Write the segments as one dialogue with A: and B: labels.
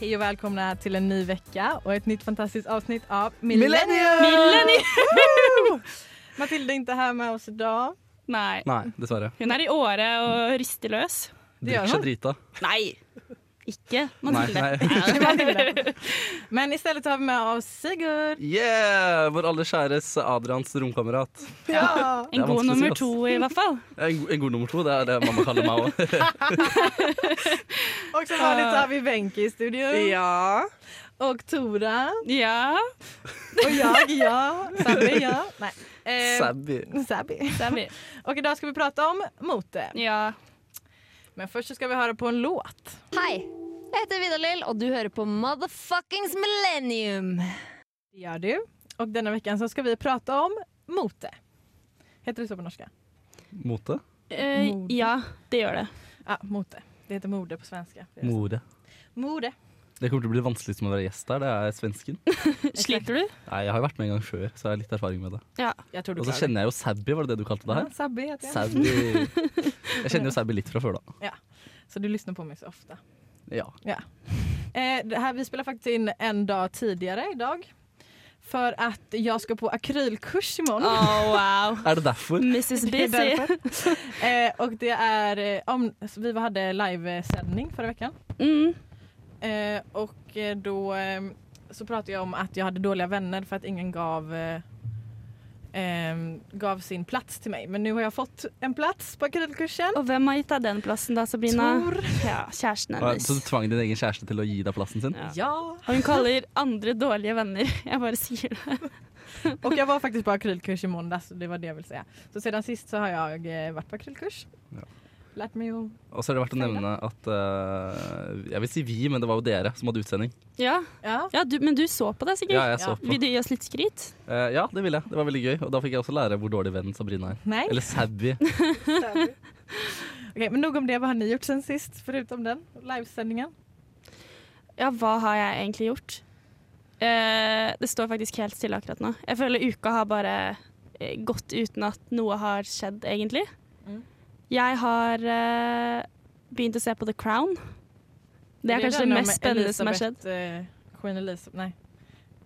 A: Hej och välkomna till en ny vecka och ett nytt fantastiskt avsnitt av
B: Millennium!
A: Millennium! Matilda är inte här med oss idag.
C: Nei.
B: Nei, dessverre.
C: Hun er i åre og rister løs.
A: Det gjør
B: Drikker seg
A: hun.
B: drita.
C: Nei! Ikke Mathilde.
B: Nei,
A: Matilda. Men istället har vi med oss Sigurd.
B: Yeah! Vår aller kjæres Adrians romkamerat.
A: Ja.
B: Det er
C: En god
B: vanskelig å si,
C: nummer
B: ass.
C: to, i hvert fall.
B: En, go- en god nummer to, det er det mamma kaller meg òg.
A: Och som vanligt så har vi Benke i studion.
C: Ja.
A: Och Tora.
C: Ja.
A: Och jag, ja. Sabby, ja. Nej. Eh,
B: Sabby.
A: Sabby.
C: Det er vi.
A: Och idag ska vi prata om mote.
C: Ja.
A: Men först så ska vi höra på en låt.
D: Hei, jeg heter Vidar-Lill, og du hører på Motherfuckings Millennium.
A: Det gör du. Och denna veckan så ska vi prata om mote. Heter det så på norska?
B: Mote?
C: Eh,
A: Mode.
C: ja, det gjør det.
A: Ja, mote. Det heter mode på svenska.
B: More.
A: Mode.
B: Det kommer til å bli vanskeligst med å være gjest der, det er svensken.
C: Sliter du?
B: Nei, Jeg har jo vært med en gang før, så jeg har litt erfaring med det.
C: Ja.
A: Jag tror du
B: Og så kjenner jeg jo Sabby, var det det du kalte det
A: Ja,
B: her?
A: Sabby heter jeg.
B: Sabby. Jeg kjenner jo Sabby litt fra før, da.
A: Så du lyssnar på mig så ofta.
B: Ja.
A: Eh, det här, vi spelar faktiskt in en dag tidigare idag. För att jag ska på akrylkurs imorgon.
C: Oh, wow.
B: Er det derfor?
C: Mrs.
A: Det är
C: Busy.
A: därför. eh, och det är eh, om, så vi hade livesändning förra veckan.
C: Mm.
A: Eh, och eh, då eh, så pratade jag om att jag hade dåliga vänner för att ingen gav, eh, ehm, gav sin plats till mig. Men nu har jag fått en plats på akrylkursen.
C: Og hvem har gitt deg den plassen, da, Sabrina?
A: Tor.
C: Ja, kjæresten
B: Ah,
C: hennes.
B: Så du tvang din egen kjæreste til å gi deg plassen sin?
C: Ja.
A: Ja.
C: Og hun kaller andre dårlige venner. Jeg bare sier det.
A: Och jag var faktiskt på akrylkurs i måndags. Det var det jag ville säga. Så sedan sist så har jag eh, varit på akrylkurs.
B: Ja.
A: Lärt mig att...
B: Og så er det verdt å nevne at eh, Jeg vil si vi, men det var jo dere som hadde utsending.
C: Ja,
A: Ja.
C: ja du, men du så på det, sikkert.
B: Ja, jeg så
A: Ja.
B: på.
C: Vil du gi oss litt skryt?
B: Eh, ja, det ville jeg. Det var veldig gøy. Og da fikk jag også lære hvor dårlig venn Sabrina er.
A: Nej.
B: Eller Sabby.
A: Okej, men nog om det. Vad har ni gjort sen sist? Förutom den livesändningen.
C: Ja, hva har jeg egentlig gjort? Eh, det står faktisk helt stille akkurat nå. Jeg føler uka har bare eh, gått uten at noe har skjedd, egentlig.
A: Mm.
C: Jeg har eh, begynt å se på The Crown. Det er kanskje
A: den
C: det
A: om
C: mest spennende som har skjedd.
A: Elisabeth, eh, Queen Elizabeth, nej.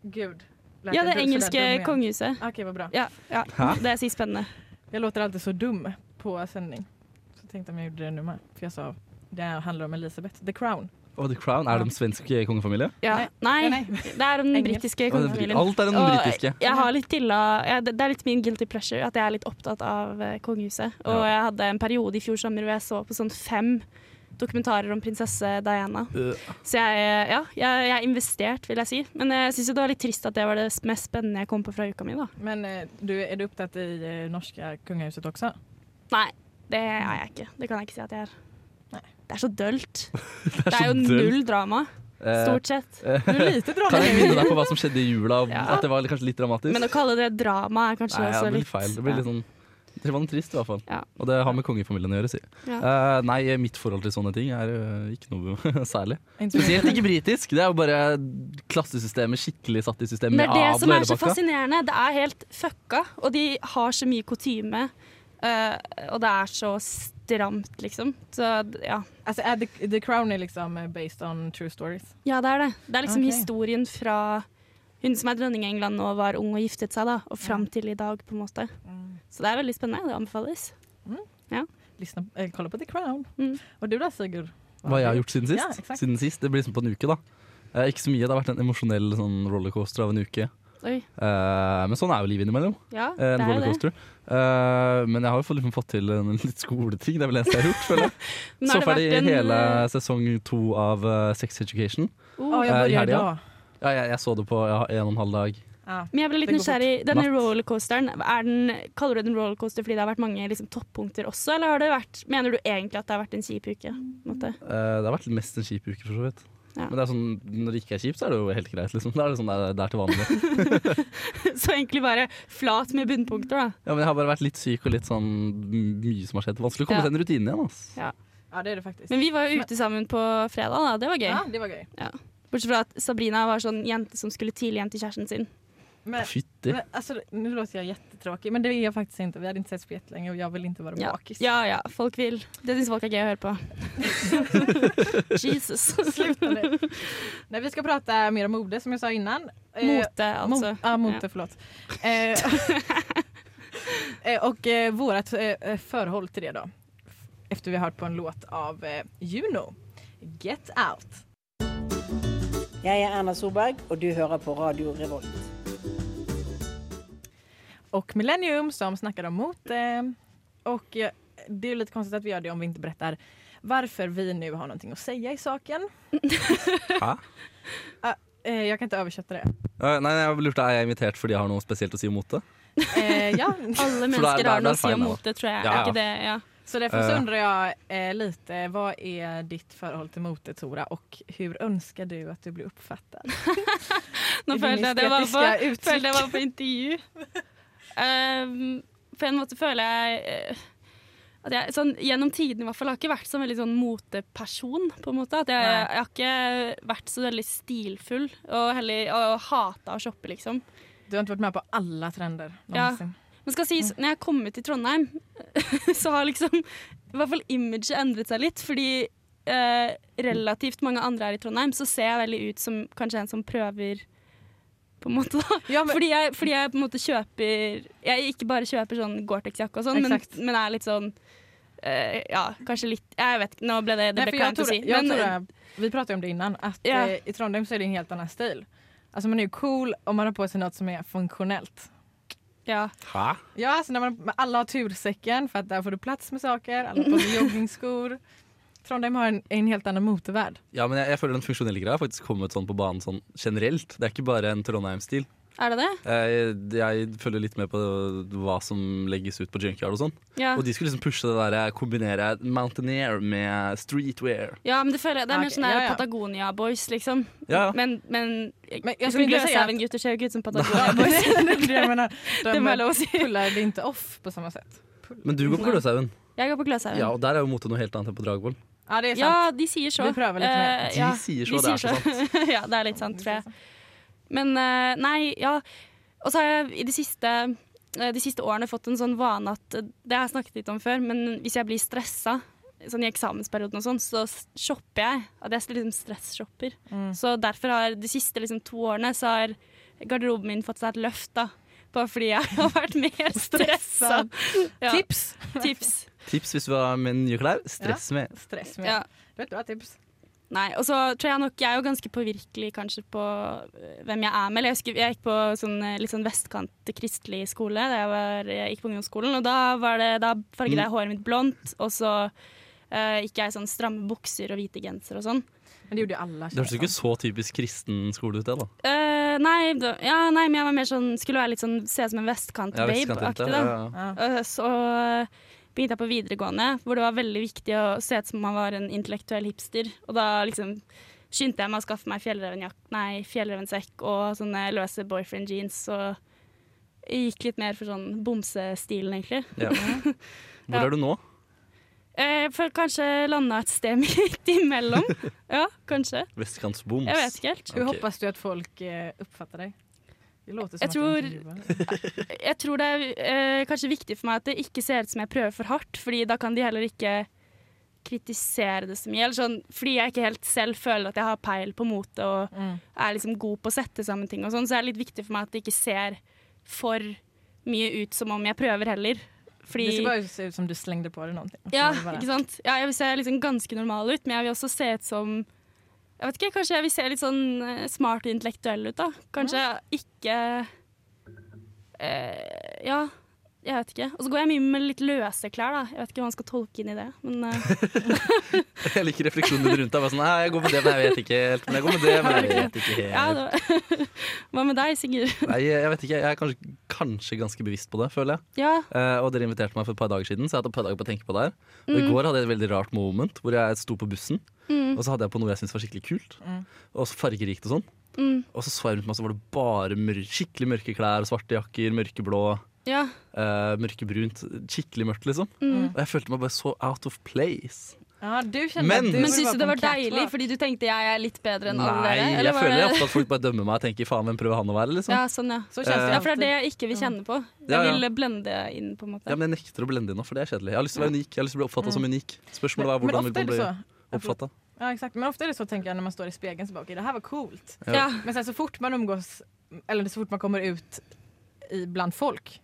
A: Gud. Lät
C: Ja,
A: jag
C: det
A: så
C: engelske
A: dum igen.
C: kongehuset.
A: Okej, vad bra.
C: Ja, ja.
B: Hæ?
C: Det jeg sier spennende.
A: Jag låter alltid så dum på sändning. Så tänkte om jag gjorde det nu med. För jag sa, det här handlar om Elisabeth. The Crown.
B: Og The Crown, er det en svensk eh, kongefamilie?
C: Ja. Nei,
A: Ja, nej.
C: det er om den
A: Engel.
C: britiske
B: Og den-
C: kongefamilien.
B: Alt er den
C: Og
B: britiske.
C: Jeg har litt dilla, ja, det det er litt min guilty pleasure at jeg er litt opptatt av eh, kongehuset. Og
B: Ja.
C: jeg hadde en periode i fjor sommer hvor jeg så på sånn fem dokumentarer om prinsesse Diana.
B: Øh,
C: Så jeg, eh, ja, jeg, jeg er investert, vil jeg si. Men jeg syns jo det var litt trist at det var det mest spennende jeg kom på fra uka mi, da.
A: Men eh, du, är du upptatt i eh, norska kungahuset også?
C: Nei, det er jeg ikke. Det kan jeg ikke si at jeg er.
A: Nei.
C: Det er så dølt.
B: det
C: Det er jo
B: så dølt.
C: null drama,
B: Eh,
C: stort sett.
A: Du er lite drama.
B: Kan jeg minne deg på hva som skjedde i jula?
C: Ja.
B: At det var kanskje litt dramatisk?
C: Men å kalle det drama er kanskje
B: Nei, ja,
C: også
B: det blir
C: litt
B: feil. Det blir litt
C: ja.
B: sånn det var noe trist, i hvert fall.
C: Ja.
B: Og det har med kongefamilien å gjøre, sier jeg. Eh, nei, mitt forhold til sånne ting er eh, ikke noe særlig.
A: Inte så
B: Spesielt
A: mycket.
B: ikke britisk. Det er jo bare klassesystemet skikkelig satt i systemet.
C: Det
B: med
C: er det
B: adel
C: som
B: hele
C: er så
B: pakka.
C: fascinerende. Det er helt fucka, og de har så mye kutyme. eh, og det er så stramt, liksom. Så ja.
A: Alltså, är the, the Crown är liksom eh, based on true stories.
C: ja, det er det. Det er liksom
A: Ok.
C: historien fra hun som er dronning i England nå, var ung og giftet seg, da, og fram til i dag, på en måte. Så det er veldig spennende. Det anbefales.
A: Lyssna, eh, kolla på The Crown.
C: Mm.
A: Och du då Sigurd?
B: Hva jeg har gjort siden
A: Ja,
B: sist?
A: exakt.
B: siden sist. Det blir liksom på en uke, da. Eh, ikke så mye. Det har vært en emosjonell sånn rollercoaster av en uke.
C: Oi.
B: Eh, men sånn er jo livet innimellom.
C: Ja,
B: Eh,
C: det
B: en
C: er jo det.
B: rollercoaster. Eh, men jeg har jo fått, liksom, fått til en litt skoleting. Det er vel det eneste jeg har gjort. føler jeg.
C: Men har
B: Så
C: det
B: ferdig
C: vært en,
B: hele
C: eh,
B: sesong to av eh, Sex Education.
A: Ja,
C: oh,
B: Eh,
A: jag
B: i
A: börjar
B: helgen.
A: idag.
B: Ja, jeg, jeg så det på ja, en og en halv dag.
A: Ja.
C: Men jeg ble litt
A: Det går fort.
C: nysgjerrig. Denne
B: Natt.
C: rollercoasteren, er den, kaller du den rollercoaster fordi det har vært mange liksom, toppunkter også, eller har det vært, mener du egentlig at det har vært en kjip uke? på en Måte?
B: Eh, det har vært mest en kjip uke, for så vidt.
C: Ja.
B: Men det er sånn, når det ikke er kjipt, så er det jo helt greit. Liksom. Da er det sånn det er, det er til vanlig.
C: Så egentlig bare flat med bunnpunkter, da.
B: Ja, men jeg har bare vært litt syk og litt sånn mye som har skjedd. Vanskelig å komme
C: Ja.
B: til en rutine igjen. ass.
A: ja, det är det faktiskt.
C: Men vi var jo ute sammen på fredag, da. Det var gøy.
A: Ja, det var gøy.
C: Bortsett fra at Sabrina var sånn jente som skulle tidlig hjem til kjæresten sin.
A: Men,
B: Fytti.
A: men alltså, nu låter jag jättetråkig men det är jag faktiskt inte. Vi hade inte setts på jättelänge och jag vill inte vara
C: Ja.
A: bakis.
C: ja ja, folk vil. Det syns folk er gøy å høre på. Jesus.
A: Sluta nu. Nej, vi ska prata mer om mode som jag sa innan. Eh,
C: Mote, altså.
A: Mot, ah, mote, förlåt. Eh, eh, och eh, vårt eh, förhåll till det då. Efter vi har hört på en låt av eh, Juno. Get out.
E: Jeg er Erna Solberg, og du hører på Radio Revolt.
A: och Millennium som snackar om mote. Och eh, det är ju lite konstigt att vi gör det om vi inte berättar varför vi nu har någonting att säga i saken.
B: Hæ?
A: Eh, jeg kan ikke oversette det.
B: Eh, nei, jeg lurte, Er jeg invitert fordi jeg har noe spesielt å si om mote?
A: Eh, ja.
C: Alle
B: For da er-
C: mennesker
B: da
C: har
B: er- da er
C: noe å si
B: feil,
C: om
B: da.
C: mote, tror jeg.
B: Ja, ja.
C: Er ikke det? Ja.
A: Så därför så
B: Eh.
A: undrar jag eh, lite, vad är ditt förhåll till mote Tora och hur önskar du att du blir uppfattad?
C: Nå
A: I
C: følte
A: dine
C: jeg det var på,
A: estetiska uttryck.
C: følte jeg var på intervju. Ehm, på en måte føler jeg eh, at jeg sånn, Gjennom tidene i hvert fall har jeg ikke vært sånn veldig sånn moteperson. på en måte. At jeg,
A: Nei.
C: jeg har ikke vært så veldig stilfull og, heller, og hata å shoppe, liksom.
A: Du har inte varit med på alla trender
C: Ja.
A: någonsin.
C: Men skal
A: Mm.
C: sies, når jeg kom ut til Trondheim, så har liksom i hvert fall imaget endret seg litt. Fordi eh, relativt mange andre her i Trondheim, så ser jeg veldig ut som kanskje en som prøver, på en måte. da.
A: Ja, men,
C: Fordi jeg, fordi jeg på en måte kjøper Jeg ikke bare kjøper sånn Gore-Tex-jakke og sånn, men,
A: Exakt. men
C: men er litt sånn eh, Ja, kanskje litt Jeg vet ikke, nå ble det, det
A: nej, för
C: ble
A: jag
C: kleint å
A: tror,
C: si.
A: jag
C: men,
A: tror jag, vi pratade om det innan, att
C: Ja.
A: eh, i Trondheim så är det en helt annan stil. Alltså man är ju cool om man har på sig något som är funktionellt.
C: ja.
B: Hæ?
A: Ja, alltså när man, men alla har tursäcken för att där får du plats med saker, alla har på sig joggingskor. Trondheim har en, en helt annan motorvärld.
B: Ja, men jeg, jeg føler den funksjonelle greia har faktisk kommet sånn på banen sånn generelt. Det er ikke bare en Trondheim-stil.
C: Er det det?
B: Jeg, jeg følger litt med på hva som legges ut på junkyard og sånn.
C: Ja.
B: Og de skulle liksom pushe det derre kombinere mountaineer med streetwear.
C: ja, men det føler jeg Det
A: Ja,
C: er mer
A: ok,
C: sånn der
A: ja, ja.
C: Patagonia-boys, liksom.
B: Ja, ja.
C: Men, men,
A: Men jag
C: jeg
A: skulle
C: skulle
A: vilja säga att-
C: Gløshaugen-gutter ser jo ikke ut som
A: Ja, men
C: Patagonia-boys.
A: det är det jag menar. De
C: Det må jeg lov å si.
A: pullar det inte off på samma sätt.
B: Men du går på Gløshaugen.
C: Jeg går på Gløshaugen.
B: Ja, og der er jo mote noe helt annet enn på Dragvoll.
A: Ja, det är sant.
C: Ja, de sier så.
A: Vi prøver litt mer.
C: Eh,
B: De sier så,
C: de
B: det er
C: sier
B: så
C: ja, det er litt sant, tror jeg. Men eh, nei, ja. Og så har jeg i de siste, eh, de siste årene fått en sånn vane at eh, Det har jeg snakket litt om før, men hvis jeg blir stressa sånn i eksamensperioden og sånn, så s- shopper jeg. At jeg liksom stresshopper.
A: Mm.
C: Så derfor har de siste liksom, to årene så har garderoben min fått seg et løft, da. Bare fordi jeg har vært mer stressa.
A: Stressad.
C: Ja,
A: Tips!
C: tips.
B: Tips hvis du har med nye klær. Stress med.
A: Stress med.
C: Ja.
A: Det er et bra tips.
C: Nei, og så tror jeg nok Jeg er jo ganske påvirkelig kanskje på øh, hvem jeg er med. Eller Jeg, husker, jeg gikk på sånn, øh, litt sånn vestkant kristelig skole da jeg, var, jeg gikk på ungdomsskolen. Og da, var det, da farget
B: Mm.
C: jeg håret mitt blondt, og så øh, gikk jeg i sånn stramme bukser og hvite genser og sånn.
A: Men det gjorde jo alle.
B: Det hørtes jo ikke så typisk kristen skole ut, det da.
C: Eh, nei, da, ja, nei, men jeg var mer sånn skulle være litt sånn se ut som en
B: Ja, vestkantjente.
C: vestkant-babe-aktig, da.
B: Ja, ja, ja.
A: Ja.
C: Eh, Så begynte jeg på videregående, hvor det var veldig viktig å se ut som man var en intellektuell hipster. Og da liksom skyndte jeg meg å skaffe meg fjellrevenjakk- nei, fjellrevensekk og sånne løse boyfriend jeans. Og jeg gikk litt mer for sånn bomsestilen, egentlig.
B: Ja. Hvor
C: Ja.
B: er du nå?
C: Eh, For kanskje landa et sted midt imellom. Ja, kanskje.
B: Vestkantsboms.
C: Jeg vet ikke helt.
A: Hur
B: Okej.
A: hoppas du att folk eh, uppfattar dig? Det låter som
C: Jag
A: att
C: tror-
A: du intervjuar.
C: Jeg tror det er eh, kanskje viktig for meg at det ikke ser ut som jeg prøver for hardt, fordi da kan de heller ikke kritisere det så mye. Eller sånn, fordi jeg ikke helt selv føler at jeg har peil på mote og
A: Mm.
C: er liksom god på å sette sammen ting og sånn, så er det litt viktig for meg at det ikke ser for mye ut som om jeg prøver heller. Fordi
A: Det ser bare se ut som du slängde på dig någonting.
C: ja,
A: Så bara-
C: ikke sant? Ja, jeg vil se liksom ganske normal ut, men jeg vil også se ut som Jeg vet ikke, kanskje jeg vil se litt sånn eh, smart og intellektuell ut, da. Kanskje ikke eh, Ja, jeg vet ikke. Og så går jeg mye med litt løse klær, da. Jeg vet ikke hva man skal tolke inn i det, men eh,
B: Jeg liker refleksjonen din rundt deg. Bare sånn, Nei, jeg går med det, men jeg vet ikke helt. Men jeg går med det, men jeg vet ikke
C: ja,
B: helt.
C: det Hva med deg, Sigurd?
B: Nei, jeg vet ikke. Jeg er kanskje, kanskje ganske bevisst på det, føler jeg.
C: Ja.
B: Eh, og dere inviterte meg for et par dager siden, så jeg hadde et par dager på å tenke på det her. Og
C: Mm.
B: i går hadde jeg et veldig rart moment hvor jeg sto på bussen, og så hadde jeg på noe jeg syntes var skikkelig kult. Og så fargerikt og sånn.
C: Mm.
B: Og så så jeg rundt meg, så var det bare mør skikkelig mørke klær, svarte jakker, mørkeblå,
C: ja. Mm.
B: eh, mørkebrunt. Skikkelig mørkt, liksom. Og jeg følte meg bare så out of place.
A: Ja, du kjenner
B: Men-
A: at du
B: Men
C: Men
A: burde
C: syns
A: være
C: du
A: på
C: det var
A: en catwalk?
C: deilig fordi du tenkte jeg er litt bedre enn alle
B: Nei,
C: dere? eller
B: jeg
C: var
B: føler
C: det-
B: ofte at folk bare dømmer meg og tenker faen, hvem prøver han å være? liksom
C: Ja, sånn, ja.
A: Så kjennes det
C: Ja, for det er det
A: alltid.
C: jeg ikke vil kjenne på.
B: Ja,
C: Jeg
B: ja.
C: vil blende inn, på en måte.
B: Ja, men Jeg nekter å blende inn nå, for det er kjedelig. Jeg har lyst til å være unik. Jeg har lyst til å bli oppfattet som unik Spørsmålet var
A: Men
B: hvordan
A: ofte er
B: vil man
A: det
B: bli
A: så.
B: oppfatta.
A: Ja, exakt. Men ofta är det så tänker jag när man står i spegeln så bara okej det här var coolt.
B: Ja.
C: Ja.
A: Men sen så fort man umgås eller så fort man kommer ut i, bland folk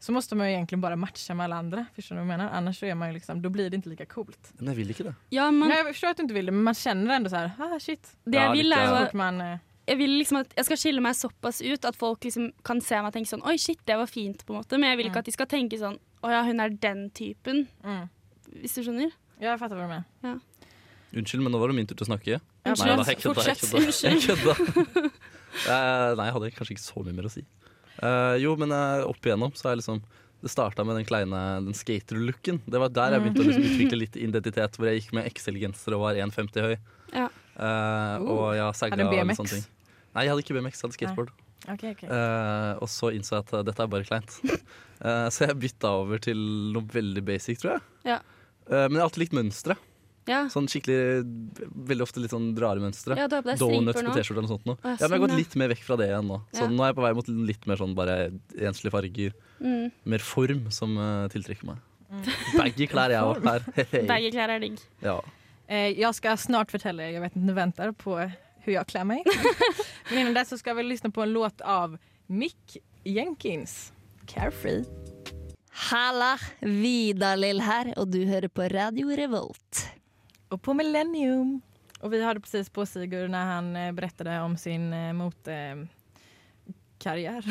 A: så måste man ju egentligen bara matcha med alla andra. Förstår du vad jag menar? Annars så är man ju liksom, då blir det inte lika coolt.
B: Men jeg vil ikke det.
C: Ja, men
A: Nej, jag förstår att du inte vill det men man känner ändå så här, ah shit.
C: det
B: Ja,
C: jeg vil,
B: litt,
C: er
A: Så
C: jo
B: ja.
A: fort man, eh,
C: jeg vil liksom at jeg skal skille meg såpass ut at folk liksom kan se meg og tenke sånn Oi, shit, det var fint, på en måte. Men jeg vil
A: Mm.
C: ikke at de skal tenke sånn Å ja, hun er den typen.
A: mm.
C: Hvis du skjønner?
A: Jag fattar vad du menar.
B: Unnskyld, men nå var det min tur til å snakke.
A: Ja,
B: Nei, da, jeg
C: Unnskyld.
B: kødda. Jeg
C: Fortsett.
B: kødda. Jeg kødda. Eh, nei, jeg hadde kanskje ikke så mye mer å si. Eh, jo, men eh, opp igjennom så er liksom det starta med den kleine den skater-looken. Det var der jeg begynte å liksom utvikle litt identitet, hvor jeg gikk med XL-genser og var 1,50 høy.
C: Ja.
B: Eh, og jeg
A: Hadde
B: sagga
A: du
B: og litt
A: BMX?
B: sånne ting. Nei, jeg hadde ikke BMX, jeg hadde skateboard.
A: Okej okej.
B: Eh, og så innså jeg at eh, dette er bare kleint. Eh, så jeg bytta over til noe veldig basic, tror jeg.
C: Ja.
B: Eh, men jeg har alltid likt mønstre.
C: Ja.
B: Sånn skikkelig, Veldig ofte litt sånn rare mønstre.
C: ja, du har på deg striper
B: Donuts på
C: nå.
B: T-skjorte eller noe sånt. Nå.
C: Å, ja,
B: Ja, men jeg har
C: sånn,
B: gått
C: ja.
B: litt mer vekk fra det igjen nå. Så
C: Ja.
B: nå er jeg på vei mot litt mer sånn bare enslige farger.
C: Mm.
B: Mer form som eh, tiltrekker meg. Baggy klær jeg har vært her. Hey.
C: Begge klær er digg.
B: Ja.
A: Eh, jag ska snart fortälla er, jag vet inte, ni väntar på hur jag klär mig. Men innan dess så ska vi lyssna på en låt av Mick Jenkins. Carefree.
D: Halla! Vidar-Lill her, og du hører på Radio Revolt.
A: Och på Millennium. Och vi hörde precis på Sigurd när han eh, berättade om sin eh, mot... Eh, karriär,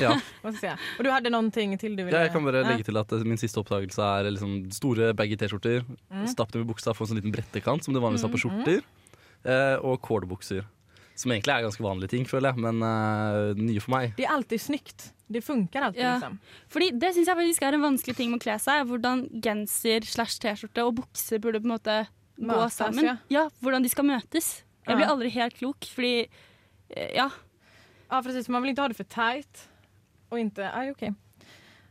B: Ja.
A: vad ska jag säga. Och du hade någonting till du ville...
B: Ja, jeg kan bare
A: Ja.
B: legge til at eh, min siste oppdagelse er liksom store baggy T-skjorter. Stapp dem i buksa, få en sånn liten brettekant som du vanligvis har på skjorter. eh, Og kålbukser. Som egentlig er ganske vanlige ting, føler jeg, men eh, nye for meg.
A: Det är alltid snyggt. Det funkar alltid
C: Ja.
A: liksom.
C: Fordi det syns jeg faktisk er en vanskelig ting med å kle seg. er Hvordan genser slash T-skjorte og bukse burde på en måte gå
A: Møtes,
C: sammen.
A: ja.
C: Ja, hvordan de skal møtes.
A: Ja.
C: Jeg blir aldri helt klok, fordi eh, Ja.
A: Ja precis, man vill inte ha det för tight. Och inte, aj okej.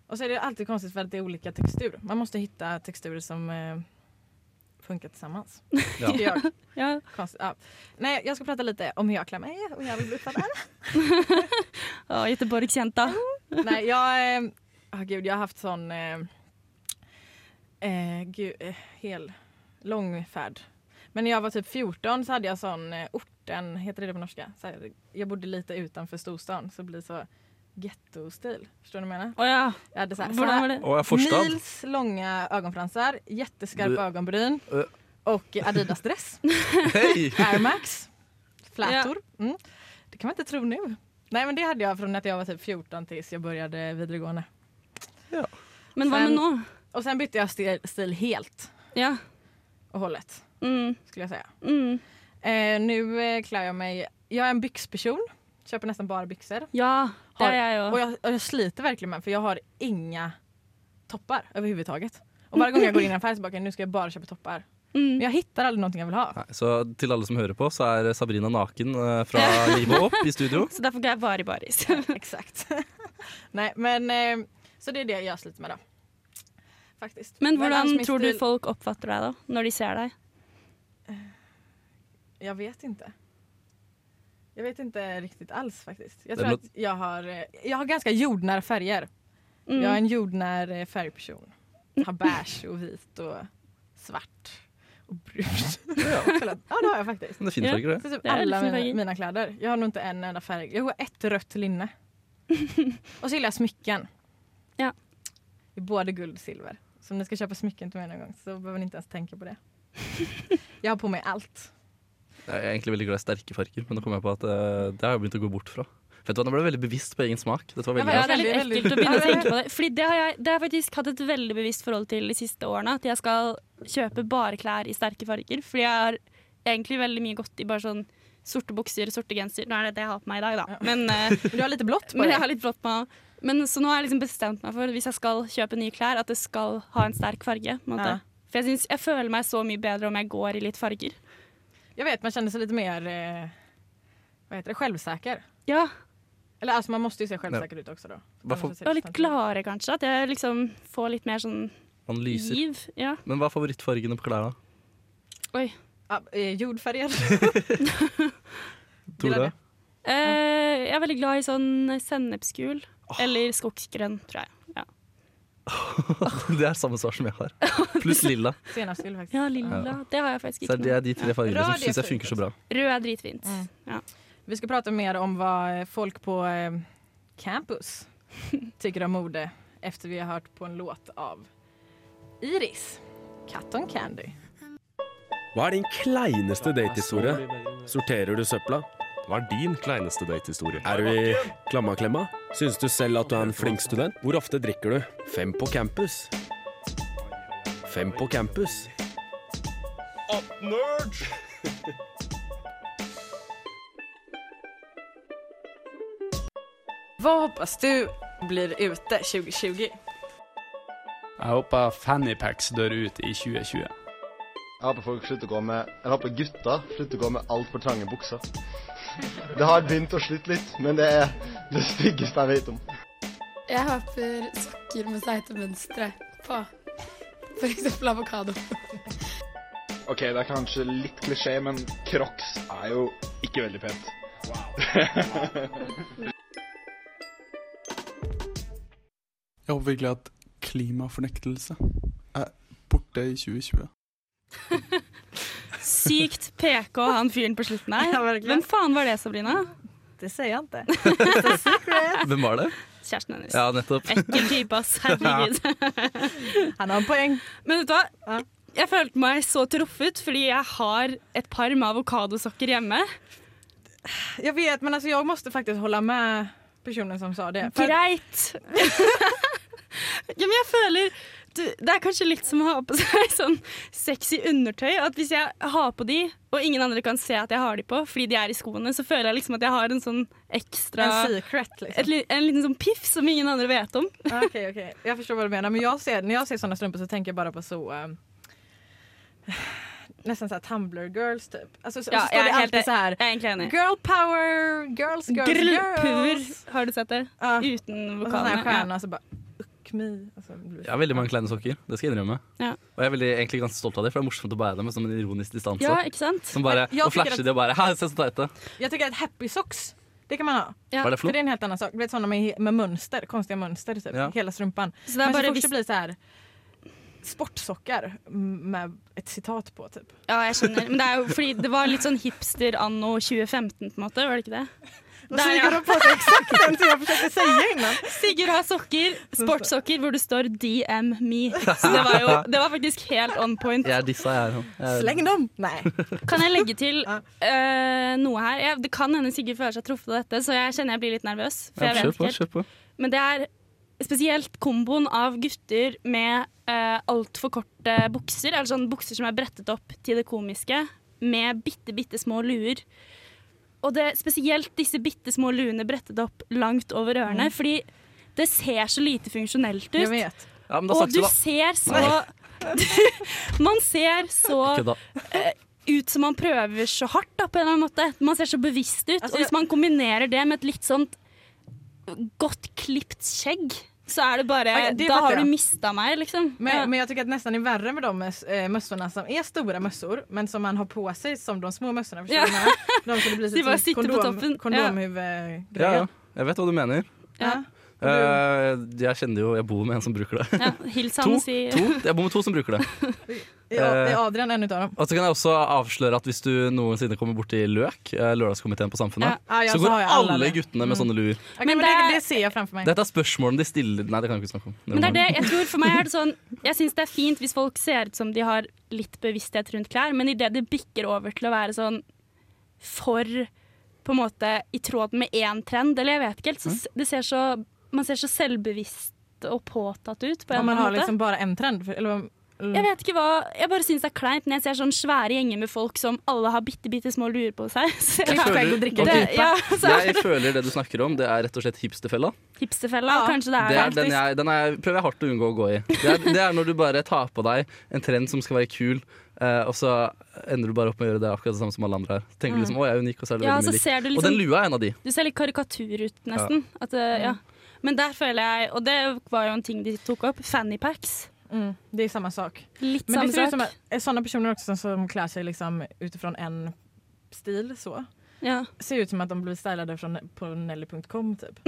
A: Och så är det alltid konstigt för att det är olika texturer. Man måste hitta texturer som eh, funkar tillsammans.
B: Ja.
A: Tycker jag.
C: ja.
A: Konstigt, ja. Nej, jag ska prata lite om hur jag klär mig och hur jag vill bli uppfattad.
C: Å, Göteborgsjenta.
A: Nej, jag... Eh, ah, gud, jag har haft sån... Eh, eh, gud, eh, hel... Lång färd. Men när jag var typ 14 så hade jag sån eh, orten... Heter det det på norska? Så här, jag bodde lite utanför storstan så det blir så ghetto-stil. Förstår du vad jag menar?
C: Å ja.
A: Jag hade så här, så
C: Hvordan var
A: här
C: det?
B: Og jeg har forstad.
A: Mils långa ögonfransar, jätteskarpa
B: Du-
A: ögonbryn
B: Ö.
A: och Adidas-dress.
B: Hei!
A: Air Max. Flätor. Mm. Det kan man inte tro nu. Nej men det hade jag från att jag var typ 14 tills jag började videregående.
C: Men hva med nå?
A: Och sen bytte jag stil, stil helt
C: Ja.
A: och hållet
C: Mm.
A: skulle jag säga.
C: Mm.
A: Eh, nu eh, klär jag mig, jag är en byxperson, köper nästan bara byxor.
C: Ja, det
A: Har-
C: er jeg
A: Och
C: jo.
A: jag, och jag sliter verkligen med för jag har inga toppar överhuvudtaget. Och varje gång jag går in i en affär så bara, "Okej, nu ska jag bara köpa toppar. Men
C: Mm.
A: jag hittar aldrig någonting jag vill ha.
B: Nei, så til alle som hører på, så er Sabrina naken eh, fra livet opp i studio.
C: Så derfor går jeg bare i baris.
A: Exakt. Nej men eh, så det är det jag sliter med då. Faktiskt.
C: Men
A: annars
C: hvordan
A: min
C: tror du
A: stil-
C: folk oppfatter deg da, når de ser deg?
A: Jag vet inte. Jag vet inte riktigt alls faktiskt. Jag
B: Det
A: tror
B: lå-
A: att jag har, eh, jeg har ganske jordnära färger.
C: Mm.
A: Jag är en jordnär eh, färgperson. Jag har beige och vit och svart och brunt.
B: Ja,
A: Kolla, ja det har jag faktiskt.
B: men det er fine
C: Ja.
B: farger, det.
A: Så typ
C: Det är
A: alla
C: liksom
A: mina,
C: färger.
A: mina kläder. Jag har nog inte en enda färg. Jag har ett rött linne. och så gillar jag smycken.
C: Ja.
A: I både guld och silver. Så om ni ska köpa smycken till mig någon gång så behöver ni inte ens tänka på det. jag har på mig allt.
B: Jeg er egentlig veldig glad i sterke farger, men nå kom jeg på at eh, det har jeg begynt å gå bort fra. Vet du hva, Nå ble jeg veldig bevisst på egen smak. Dette var
A: Ja,
B: veldig
A: men-
C: Ja, det er litt
A: veldig-
C: ekkelt å begynne å
A: Ja,
C: tenke på det. Fordi det har jeg det har jeg faktisk hatt et veldig bevisst forhold til de siste årene. At jeg skal kjøpe bare klær i sterke farger. Fordi jeg har egentlig veldig mye godt i bare sånn sorte bukser, sorte genser. Nå er det det jeg har på meg i dag, da. Men, eh,
A: Men Du har lite blått på
C: men
A: dig.
C: jeg har litt blått på meg. Men så nå har jeg liksom bestemt meg for, hvis jeg skal kjøpe nye klær, at det skal ha en sterk farge. På en måte.
A: Ja.
C: For jeg, synes, jeg føler meg så mye bedre om jeg går i litt farger.
A: Jag vet man känner sig lite mer eh, vad heter det, självsäker.
C: Ja,
A: Eller alltså man måste ju se självsäker ut också då.
B: Varför-
A: Annars så ser det
C: Og litt
A: sånt ut.
C: gladere, kanskje. At jeg liksom får litt mer sånn
B: Han lyser.
C: giv. Ja.
B: Men hva er favorittfargene på klærne?
C: Oi.
A: Ja, eh, jordfärger. Gillar
B: Tore?
A: det.
C: Eh, jeg er veldig glad i sånn sennepsgul eller skogsgrønn, tror jeg. Ja,
B: Det er samme svar som jeg har. Pluss lilla.
A: Senapsgul faktiskt.
C: ja lilla. Det har jeg faktisk
B: Så
C: ikke.
B: det
C: nå.
B: er de tre fargene
A: Rød
B: som
A: er
B: syns jeg
A: fint
B: funker så bra.
C: Rød er dritfint.
A: Mm.
C: Ja.
A: Vi ska prata mer om vad folk på eh, campus tycker om mode efter vi har hört på en låt av Iris, Cotton Candy.
F: Hva er din kleineste datehistorie? Sorterer du søpla?
G: Hva er din kleineste datehistorie?
F: Er du i klammaklemma? Syns du selv at du er en flink student? Hvor ofte drikker du? Fem på campus. Fem på campus.
H: Vad hoppas du blir ute 2020?
I: Jeg håper Fannypacks dør ut i 2020.
J: Jeg håper folk slutter å gå med Jeg håper gutta slutter å gå med altfor trange bukser. Det har begynt å slutte litt, men det er det styggeste jeg vet om.
K: Jeg håper sokker med seite mønstre på. For eksempel avokado.
J: OK, det er kanskje litt klisjé, men crocs er jo ikke veldig pent.
I: Jeg håper virkelig at klimafornektelse er borte i 2020.
C: Sykt PK, han fyren på slutten her. Hvem faen var det, Sabrina?
A: Det säger jag inte.
B: Hvem var det?
C: Kjæresten hennes.
B: Ja, nettopp.
C: Ekkel type, ass. Herregud.
A: Han har en poäng.
C: Men vet du hva?
A: Ja.
C: Jeg følte meg så truffet fordi jeg har et par med avokadosokker hjemme.
A: Jag vet, men alltså, jag måste faktiskt hålla med personen som sa det. För-
C: Greit! ja, men jeg føler du, Det er kanskje litt som å ha på seg sånn sexy undertøy. At hvis jeg har på de, og ingen andre kan se at jeg har de på fordi de er i skoene, så føler jeg liksom at jeg har en sånn ekstra
A: En secret liksom.
C: et, li- en liten sånn piff som ingen andre vet om.
A: Ja, Ah, Okej, okej. Jag förstår vad du menar. Men jag ser, när jag ser såna strumpor så tänker jag bara på så... eh, nästan så här Tumblr girls typ. Alltså, så,
C: Ja,
A: och så står
C: jag
A: det
C: är helt-
A: alltid så här...
C: Jeg er egentlig enig.
A: Girl power, girls, girls,
C: Grullpuver,
A: girls.
C: har du sett det?
A: Ja.
C: Uten
A: Och så sån här
C: vokalene. Ja.
A: stjärna så bara uck me. Alltså, det blir-
B: Jeg har veldig mange kleine sokker. Det skal jeg innrømme.
C: Ja.
B: Og jeg er veldig, egentlig ganske stolt av det, for det er morsomt å bære dem med som en ironisk distanse.
C: ja, ikke sant?
B: Som bare,
A: Jeg tenker
B: og flashe
A: at-
B: de og bare Hæ, se så teite.
A: Jag tycker att happy socks, det kan man ha.
C: Ja.
B: Hva er det
A: För det
B: for noe?
A: är en helt annan sak. Du vet sådana med, med mönster, konstiga mönster typ.
B: Ja.
A: Hela strumpan.
C: Så det
A: Men så
C: er bare
A: fort det
C: hvis
A: blir så här sportsockar med ett citat på typ.
C: Ja, jeg skjønner. Men det er jo fordi det var litt sånn hipster anno 2015, på en måte. Var det ikke det?
A: Då
C: Där, ja.
A: smyger de på sig exakt den som jag försökte säga innan.
C: Sigurd har sokker, sportssokker, hvor det står 'DM me'. Så det var jo det var faktisk helt on point.
B: Jeg er dissa, jeg er han. Jeg er-
A: Släng dem! Nej.
C: Kan jeg legge til
A: Ja.
C: eh, noe her? Jeg, det kan hende Sigurd føler seg truffet av dette, så jeg kjenner jeg blir litt nervøs. For
B: Ja,
C: jeg vet
B: kjør
C: ikke
B: på,
C: helt.
B: kjør på.
C: Men det er spesielt komboen av gutter med uh, altfor korte bukser, eller sånn bukser som er brettet opp til det komiske, med bitte, bitte små luer. Og det, spesielt disse bitte små luene brettet opp langt over ørene, fordi det ser så lite funksjonelt
A: Jag
C: ut.
A: vet.
B: Mm. Ja, men da
C: Og
B: snakkes
C: du
B: vi, da.
C: ser så Man ser så
B: Kødda.
C: ut som man prøver så hardt, da, på en eller annen måte. Man ser så bevisst ut.
A: Altså,
C: og hvis
A: jeg-
C: man kombinerer det med et litt sånt godt klipt skjegg, så er det bare
A: Ok, det
C: Da
A: fatter
C: har
A: jeg.
C: du mista meg, liksom.
A: Men,
C: ja.
A: men jag tycker att nästan är värre med de eh, mössorna som är stora mössor men som man har på sig som de små mössorna. Förstår
C: Ja.
A: du vad jag menar? De som det blir
C: De bara
A: typ som
C: sitter på toppen. Ja.
A: kondom, kondomhuvudgrejen.
B: Ja, ja. Jeg vet hva du mener.
C: Ja.
B: Eh, jeg kjenner jo Jeg bor med en som bruker det.
C: ja. Hils han
B: To,
C: og si
B: to, jeg bor med to som bruker det.
A: Är är Adrian en utav dem?
B: Og så kan jeg også avsløre at hvis du noensinne kommer borti Løk, eh, lørdagskomiteen på Samfunnet,
A: Ja. Ja, ja,
B: så
A: så
B: går
A: har jeg alle
B: alle
A: det.
B: guttene
C: Mm.
B: med sånne luer.
A: Okej,
C: Men
A: men
C: där-
A: det, det ser jag framför mig.
B: Dette er spørsmålene de stiller Nei, det kan vi ikke snakke om.
C: Men det er det, jeg tror for meg er det sånn Jeg syns det er fint hvis folk ser ut som de har litt bevissthet rundt klær, men idet det bikker over til å være sånn for på en måte i tråd med én trend, eller jeg vet ikke helt, så s- det ser så Man ser så selvbevisst og påtatt ut på en
A: Om man
C: eller
A: har
C: annen måte.
A: liksom bara en trend. För, eller, vad-
C: Jeg vet ikke hva Jeg bare syns det er kleint når jeg ser sånn svære gjenger med folk som alle har bitte, bitte små luer på seg. Så jeg-
B: Klipp skjegg og drikke
C: det,
B: pipa.
C: ja, så er
B: Jeg føler det du snakker om, det er rett og slett hipsterfella.
C: det hipsterfella,
A: Ja.
C: og kanskje det er,
B: Det er den
C: faktisk.
B: jeg, den er, prøver jeg hardt å unngå å gå i. Det er, det er når du bare tar på deg en trend som skal være kul, eh, og så ender du bare opp med å gjøre det akkurat det samme som alle andre her. Så tenker du liksom, å, jeg er unik, og så er det
C: Ja,
B: veldig
C: så
B: mye likt.
C: ser du
B: Og den
C: liksom
B: lua er en av de.
C: Du ser litt karikatur ut, eh, nesten. At, uh, ja. Men der føler jeg Og det var jo en ting de tok opp. Fannypacks.
A: Mm, det är samma sak.
C: Litt
A: Men det
C: samme
A: ser ut som
C: sak.
A: att eh, sådana personer också som, som klär sig liksom utifrån en stil så.
C: Ja.
A: Ser ut som att de blir stylade från, på Nelly.com typ.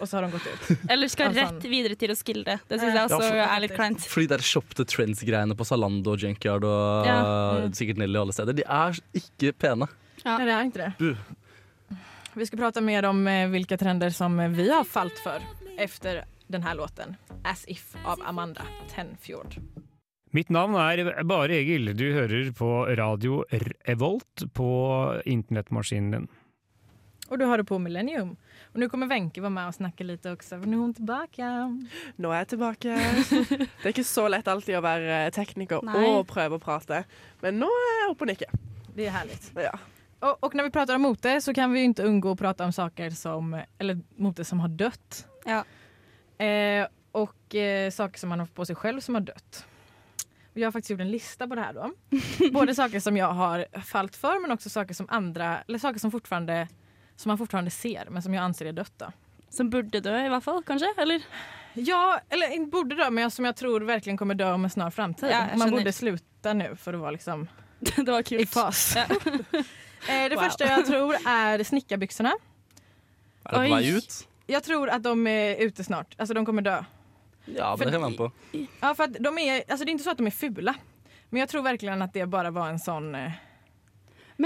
A: Och så har de gått ut.
C: Eller skal
A: Altså-
L: sånn.
C: rett videre til å skille. Det
A: Ja.
C: syns jeg også
A: Ja, for-
C: er litt kleint.
B: Fordi de der Shop the Trends-greiene på Zalando og Junkyard og
C: Ja. Mm.
B: sikkert Nelly og alle steder, de er ikke pene.
A: Nej, det är inte det.
B: Bu.
A: Vi ska prata mer om eh, vilka trender som eh, vi har fallit för efter den här låten. As if av Amanda Tenfjord.
M: Mitt navn er Bare Egil. Du hører på radio Revolt på internettmaskinen din.
A: Och du har det på Millennium. Och nu kommer Wenche vara med och snacka lite också för nu är hon tillbaka.
L: Nå er jeg tilbake. Det er ikke så lett alltid å være eh, tekniker
A: Nei.
L: og prøve å prate, men nå er jeg oppe og nikker.
A: Det är härligt.
L: Ja.
A: Och, och när vi pratar om mote så kan vi ju inte undgå att prata om saker som, eller mote som har dött. Eh, och eh, saker som man har fått på sig själv som har dött. Och jag har faktiskt gjort en lista på det här då. Både saker som jag har fallit för men också saker som andra, eller saker som fortfarande som man fortfarande ser men som jag anser är dött då.
C: Som burde dø, i hvert fall, kanskje? Eller?
A: Ja, eller inte borde dö men jag, som jag tror verkligen kommer dö om en snar framtid.
C: Ja,
A: man
C: jag känner-
A: borde sluta nu för att vara liksom
C: Det var kult.
A: i fas. eh, det
C: Wow.
A: första jag tror är snickarbyxorna.
B: Er det på
A: Oi.
B: vei ut?
A: Jag tror att de är ute snart, alltså de kommer dö.
B: Ja, men
A: Fordi-
B: det kan man på.
A: Ja, för att de är, alltså det är inte så att de är fula. Men jag tror verkligen att det bara var en sån eh,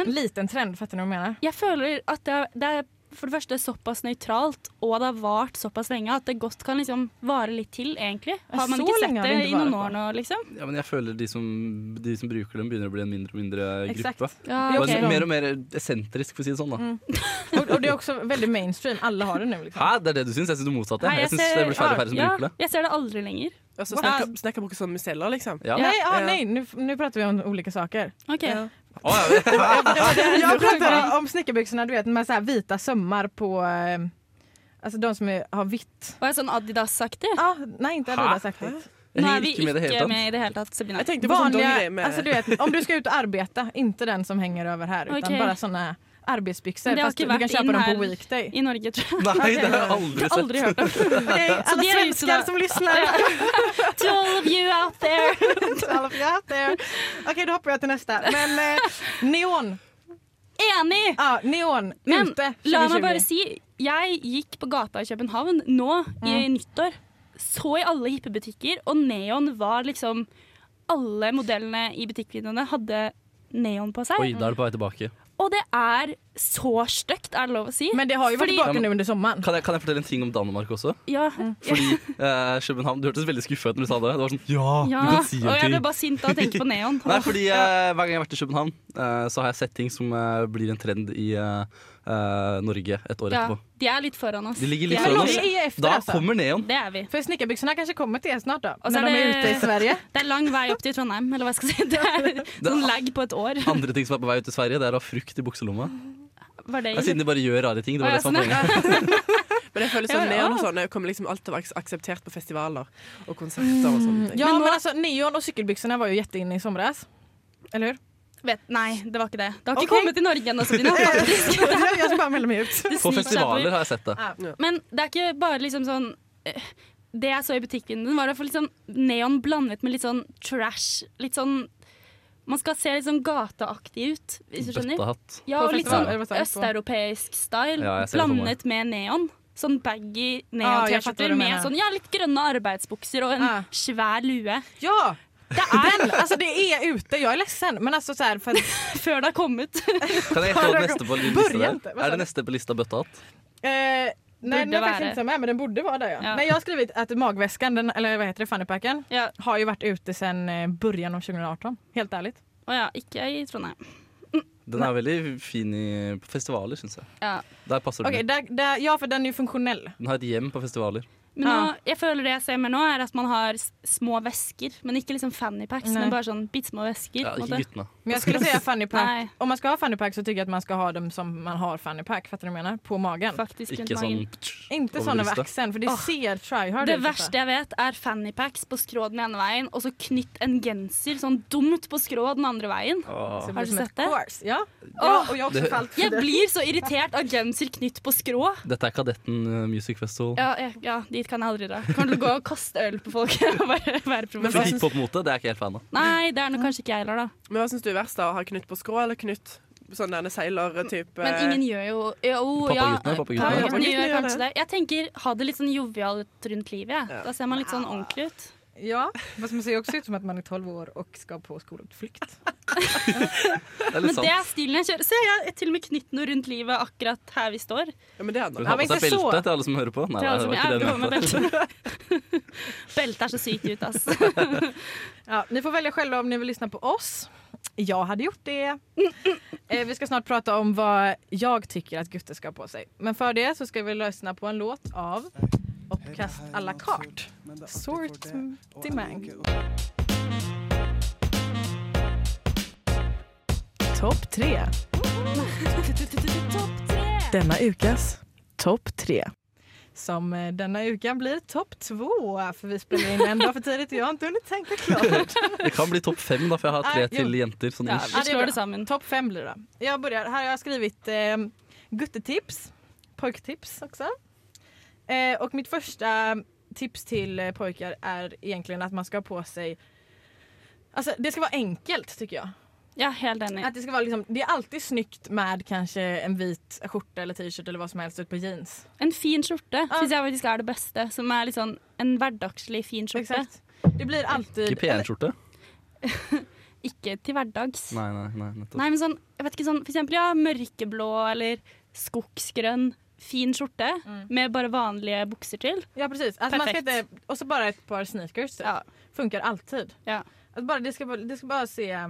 A: liten trend. Fattar ni vad jag menar?
C: Jeg føler at det er, det er for det første såpass nøytralt, og det har vart såpass lenge, at det godt kan liksom vare litt til, egentlig.
A: Ja,
C: Har man
A: så
C: ikke sett
A: lenge har
C: det
A: det ikke
C: i noen
A: varet
C: år nå, liksom?
B: Ja, men jeg føler de som, de som bruker dem, begynner å bli en mindre og mindre
A: Exakt.
B: gruppe.
A: Ja,
B: Og en-
A: ok.
B: Mer og mer esentrisk, for å si det sånn. da.
A: Mm. Och, och det är också väldigt mainstream. Alla har det nu. Liksom.
B: Hæ, det er det du syns? Jeg syns du motsatte.
A: Nei, jeg
B: Jeg syns det
A: ser-
B: blir færre og færre som
A: ja.
B: bruker det.
C: Jeg ser det aldri lenger.
L: Altså,
A: Wow.
L: snakker, snakker bruker sånne miceller, liksom.
B: Ja.
A: Nej, ja, nej nu, nu pratar vi om olika saker.
C: Okej.
A: Jag pratar om snickarbyxorna du vet, med så här vita sömmar på... Eh, alltså de som är, har vitt.
C: Var det sånn Adidas-aktig?
A: Ja, nej, inte Adidas-aktigt.
C: Nå er vi ikke med i det hele tatt, Sabina.
A: sånn Vanliga, alltså, du vet, om du ska ut och arbeta, inte den som hänger över här utan
C: Okej.
A: bara såna arbetsbyxor.
C: Men det har
A: Fast du
C: ikke
A: kan
C: vært
A: köpa
C: inn
A: dem på
C: her
A: Weekday.
C: i Norge, tror jeg.
B: Nei, det har jeg aldri sett.
C: Aldri hørt om.
A: Okej, alla
C: Så de är
A: svenskar
C: ute
A: som
C: då.
A: lyssnar.
C: To all of you out there.
A: To all of you out there. Okej, då hoppar jag till nästa. Men eh, neon.
C: Enig!
A: Ja, neon
C: Men
A: ute
C: la meg
A: 2020.
C: bare si, jeg gikk på gata i København nå i
A: Mm.
C: nyttår. Så i alle hippebutikker, og neon var liksom Alle modellene i butikkvinduene hadde neon på seg.
B: Oi, da er du på vei tilbake.
C: Og det er så stygt, er det lov å si.
A: Men det har jo vært
C: Fordi-
A: tilbake nå under sommeren.
B: Kan jeg, kan jeg fortelle en ting om Danmark også?
C: Ja.
A: Mm.
B: Fordi eh, København Du hørtes veldig skuffa ut når du sa det. Det var sånn Ja,
C: ja.
B: du kan si
C: og
B: en
C: jeg
B: ting.
C: ble bare sint av å tenke på neon.
B: Nei, fordi eh, Hver gang jeg har vært i København, eh, så har jeg sett ting som eh, blir en trend i eh, eh, Norge et år
C: ja,
B: etterpå.
C: de er litt foran oss.
B: De ligger litt
C: er
B: foran
C: litt-
B: oss. Vi er efter, Da altså. kommer neon.
C: Det er vi.
A: For snickarbyxorna kanskje kommer til snart, da.
C: Og så
A: når de er ute i Sverige.
C: Det er lang vei opp til Trondheim, eller hva jeg skal si. Det er sånn lag på et år.
B: Andre ting som er på vei ut til Sverige, det er å ha frukt i bukselomma.
C: Var det
B: Nei, siden de bare gjør rare ting. Det
L: Å,
B: var
L: ja,
B: det som var
L: sånn,
B: poenget.
L: Men jeg føler
A: Ja, ja.
L: sånn neon og sånn, det kommer liksom alltid til å være akseptert på festivaler og konserter og sånne ting.
A: Ja, men, altså, neon og sykkelbyxorna var jo jätteinne i somras. Eller hur?
C: Vet, nei, det var ikke det. Det har
A: Ok.
C: ikke kommet til Norge ennå, Sabina. faktisk.
A: jeg skal bare melde meg ut.
C: Det
B: På
C: sniker seg
B: festivaler
C: oppover.
B: har jeg sett det.
C: Men det er ikke bare liksom sånn eh, Det jeg så i butikkvinduet, var i hvert fall litt sånn neon blandet med litt sånn trash. Litt sånn Man skal se litt sånn gateaktig ut, hvis du skjønner.
B: Bøttehatt.
C: Ja, og
A: På
C: litt
A: festival,
C: sånn
A: eller hva sa jeg på?
C: østeuropeisk style
B: Ja, jeg ser det for meg.
C: blandet med neon. Sånn baggy
A: Ah, jeg skjønner hva
C: neon-T-skjorter
A: du
C: med
A: mener. Ah.
C: sånn, ja, litt grønne arbeidsbukser og en svær lue.
A: Ja! Det er, altså, det er ute. Jeg er ledsen, men altså så her for...
C: Før det har kommet.
B: Kan jeg gjette hva det neste på lista
A: Börja inte.
B: der? Er det neste på lista bøttehatt?
A: Eh, nej,
C: Borde
A: den är faktiskt
C: vara.
A: inte med, men den borde vara där. Ja.
C: Ja.
A: Nej, jag har skrivit att magväskan, den, eller vad heter det, funnypacken, har ju varit ute sedan eh, början av 2018. Helt ærlig.
C: Å ja, ikke i Trondheim.
B: Den er veldig fin i, på festivaler, syns jeg.
C: Ja.
B: Der passer
A: Okej,
B: den.
A: där, där, ja, för den är ju funktionell.
B: Den har et hjem på festivaler.
C: Men nå, jeg føler det jeg ser mer nå, er at man har s- små vesker. Men ikke liksom fannypacks,
A: Nei.
C: men bare sånn bitte små vesker.
B: Ja,
C: på en
B: ikke
C: måte.
B: guttene.
A: Men jag skulle säga funny pack.
C: Nej.
A: Om man ska ha funny pack så tycker jag att man ska ha dem som man har funny pack, fattar du vad jag menar? På magen.
C: Faktiskt
B: Ikke runt magen. sånn-
A: Inte
B: över
A: sån över
B: bröstet.
A: axeln, för det ser tryhard
C: Det
A: ut.
C: verste jeg vet, er fannypacks på skrå den ene veien, og så knytt en genser sånn dumt på skrå den andre veien.
B: Åh.
C: Har du
A: Som
C: sett det?
A: Ja.
C: Åh,
A: og jeg har
B: også Det- falt for
C: Jeg
B: det.
C: blir så irritert av genser knytt på skrå.
B: Dette er Kadetten eh, Music Festival.
C: Ja, jeg- ja, de dit kan jeg aldri dra. Kommer til å gå og kaste øl på folk. og bare være
B: Men så
C: provosert.
B: hiphop-mote, det er ikke helt fan av.
C: Nei, det er nok kanskje ikke jeg heller, da.
L: Men hva syns du er verst, da? Å ha Knut på skrå eller Knut sånn denne seiler-type?
C: Men ingen gjør jo Jo, ja.
L: Pappaguttene, pappaguttene.
C: Pappaguttene
L: Pappaguttene
C: gjør
L: gjør
C: kanskje det.
L: det.
C: Jeg tenker ha det litt sånn jovialt rundt livet, jeg. Da ser man litt sånn ordentlig ut.
A: Ja, men man ser också ut som att man är 12 år och ska på skolutflykt.
B: Det er
C: Men
B: litt
C: det er
B: sant.
C: stilen jeg kjører. Se, jeg har til og med knytt noe rundt livet akkurat her vi står.
L: Ja, men det
B: Skal du ha på deg belte til alle som hører på? Nei,
C: Til alle
B: det
C: som-
B: var ikke
C: ja,
B: det
C: jeg går med
B: jeg mente.
C: Beltet er så sykt ut, ass.
A: Ja, ni får välja själva om ni vill lyssna på oss. Jag hade gjort det. Eh, vi ska snart prata om vad jag tycker att gutter ska ha på sig. Men för det så ska vi lyssna på en låt av Uppkast à la carte. Sort till mig.
N: Topp tre. Denne ukes topp tre.
A: Som eh, denna veckan blir topp två. För vi spelar in en dag för tidigt och jag har inte hunnit tänka klart.
B: Det kan bli topp fem, da, for jeg har
A: Nei,
B: tre
A: jo.
B: til jenter. Sånn
A: Ja,
B: ish.
A: vi slår det sammen. Mm, Topp fem blir det. Jag börjar. Här har jag skrivit eh, guttetips, pojktips också. Eh, och mitt första tips till eh, pojkar är egentligen att man ska ha på sig Alltså det ska vara enkelt tycker jag.
C: Ja, helt enig.
A: Att det, ska vara liksom, det är alltid snyggt med kanske en vit skjorta eller t-shirt eller vad som helst ut på jeans.
C: En fin skjorte syns jeg faktisk er det beste. Som er litt sånn en hverdagslig fin skjorte.
A: Det blir alltid
B: Ikke PN-skjorte?
C: Ikke til hverdags.
B: Nei, nei, nei, nettopp.
C: Nei, men sånn, jeg vet ikke sånn, for eksempel ja, mørkeblå eller skogsgrønn, fin skjorte
B: Mm.
C: med bare vanlige bukser til.
A: Ja, precis. Alltså man ska inte, och så bara ett par sneakers. typ. Funkar alltid. Alltså bara, det, ska, bara- det ska bara se eh,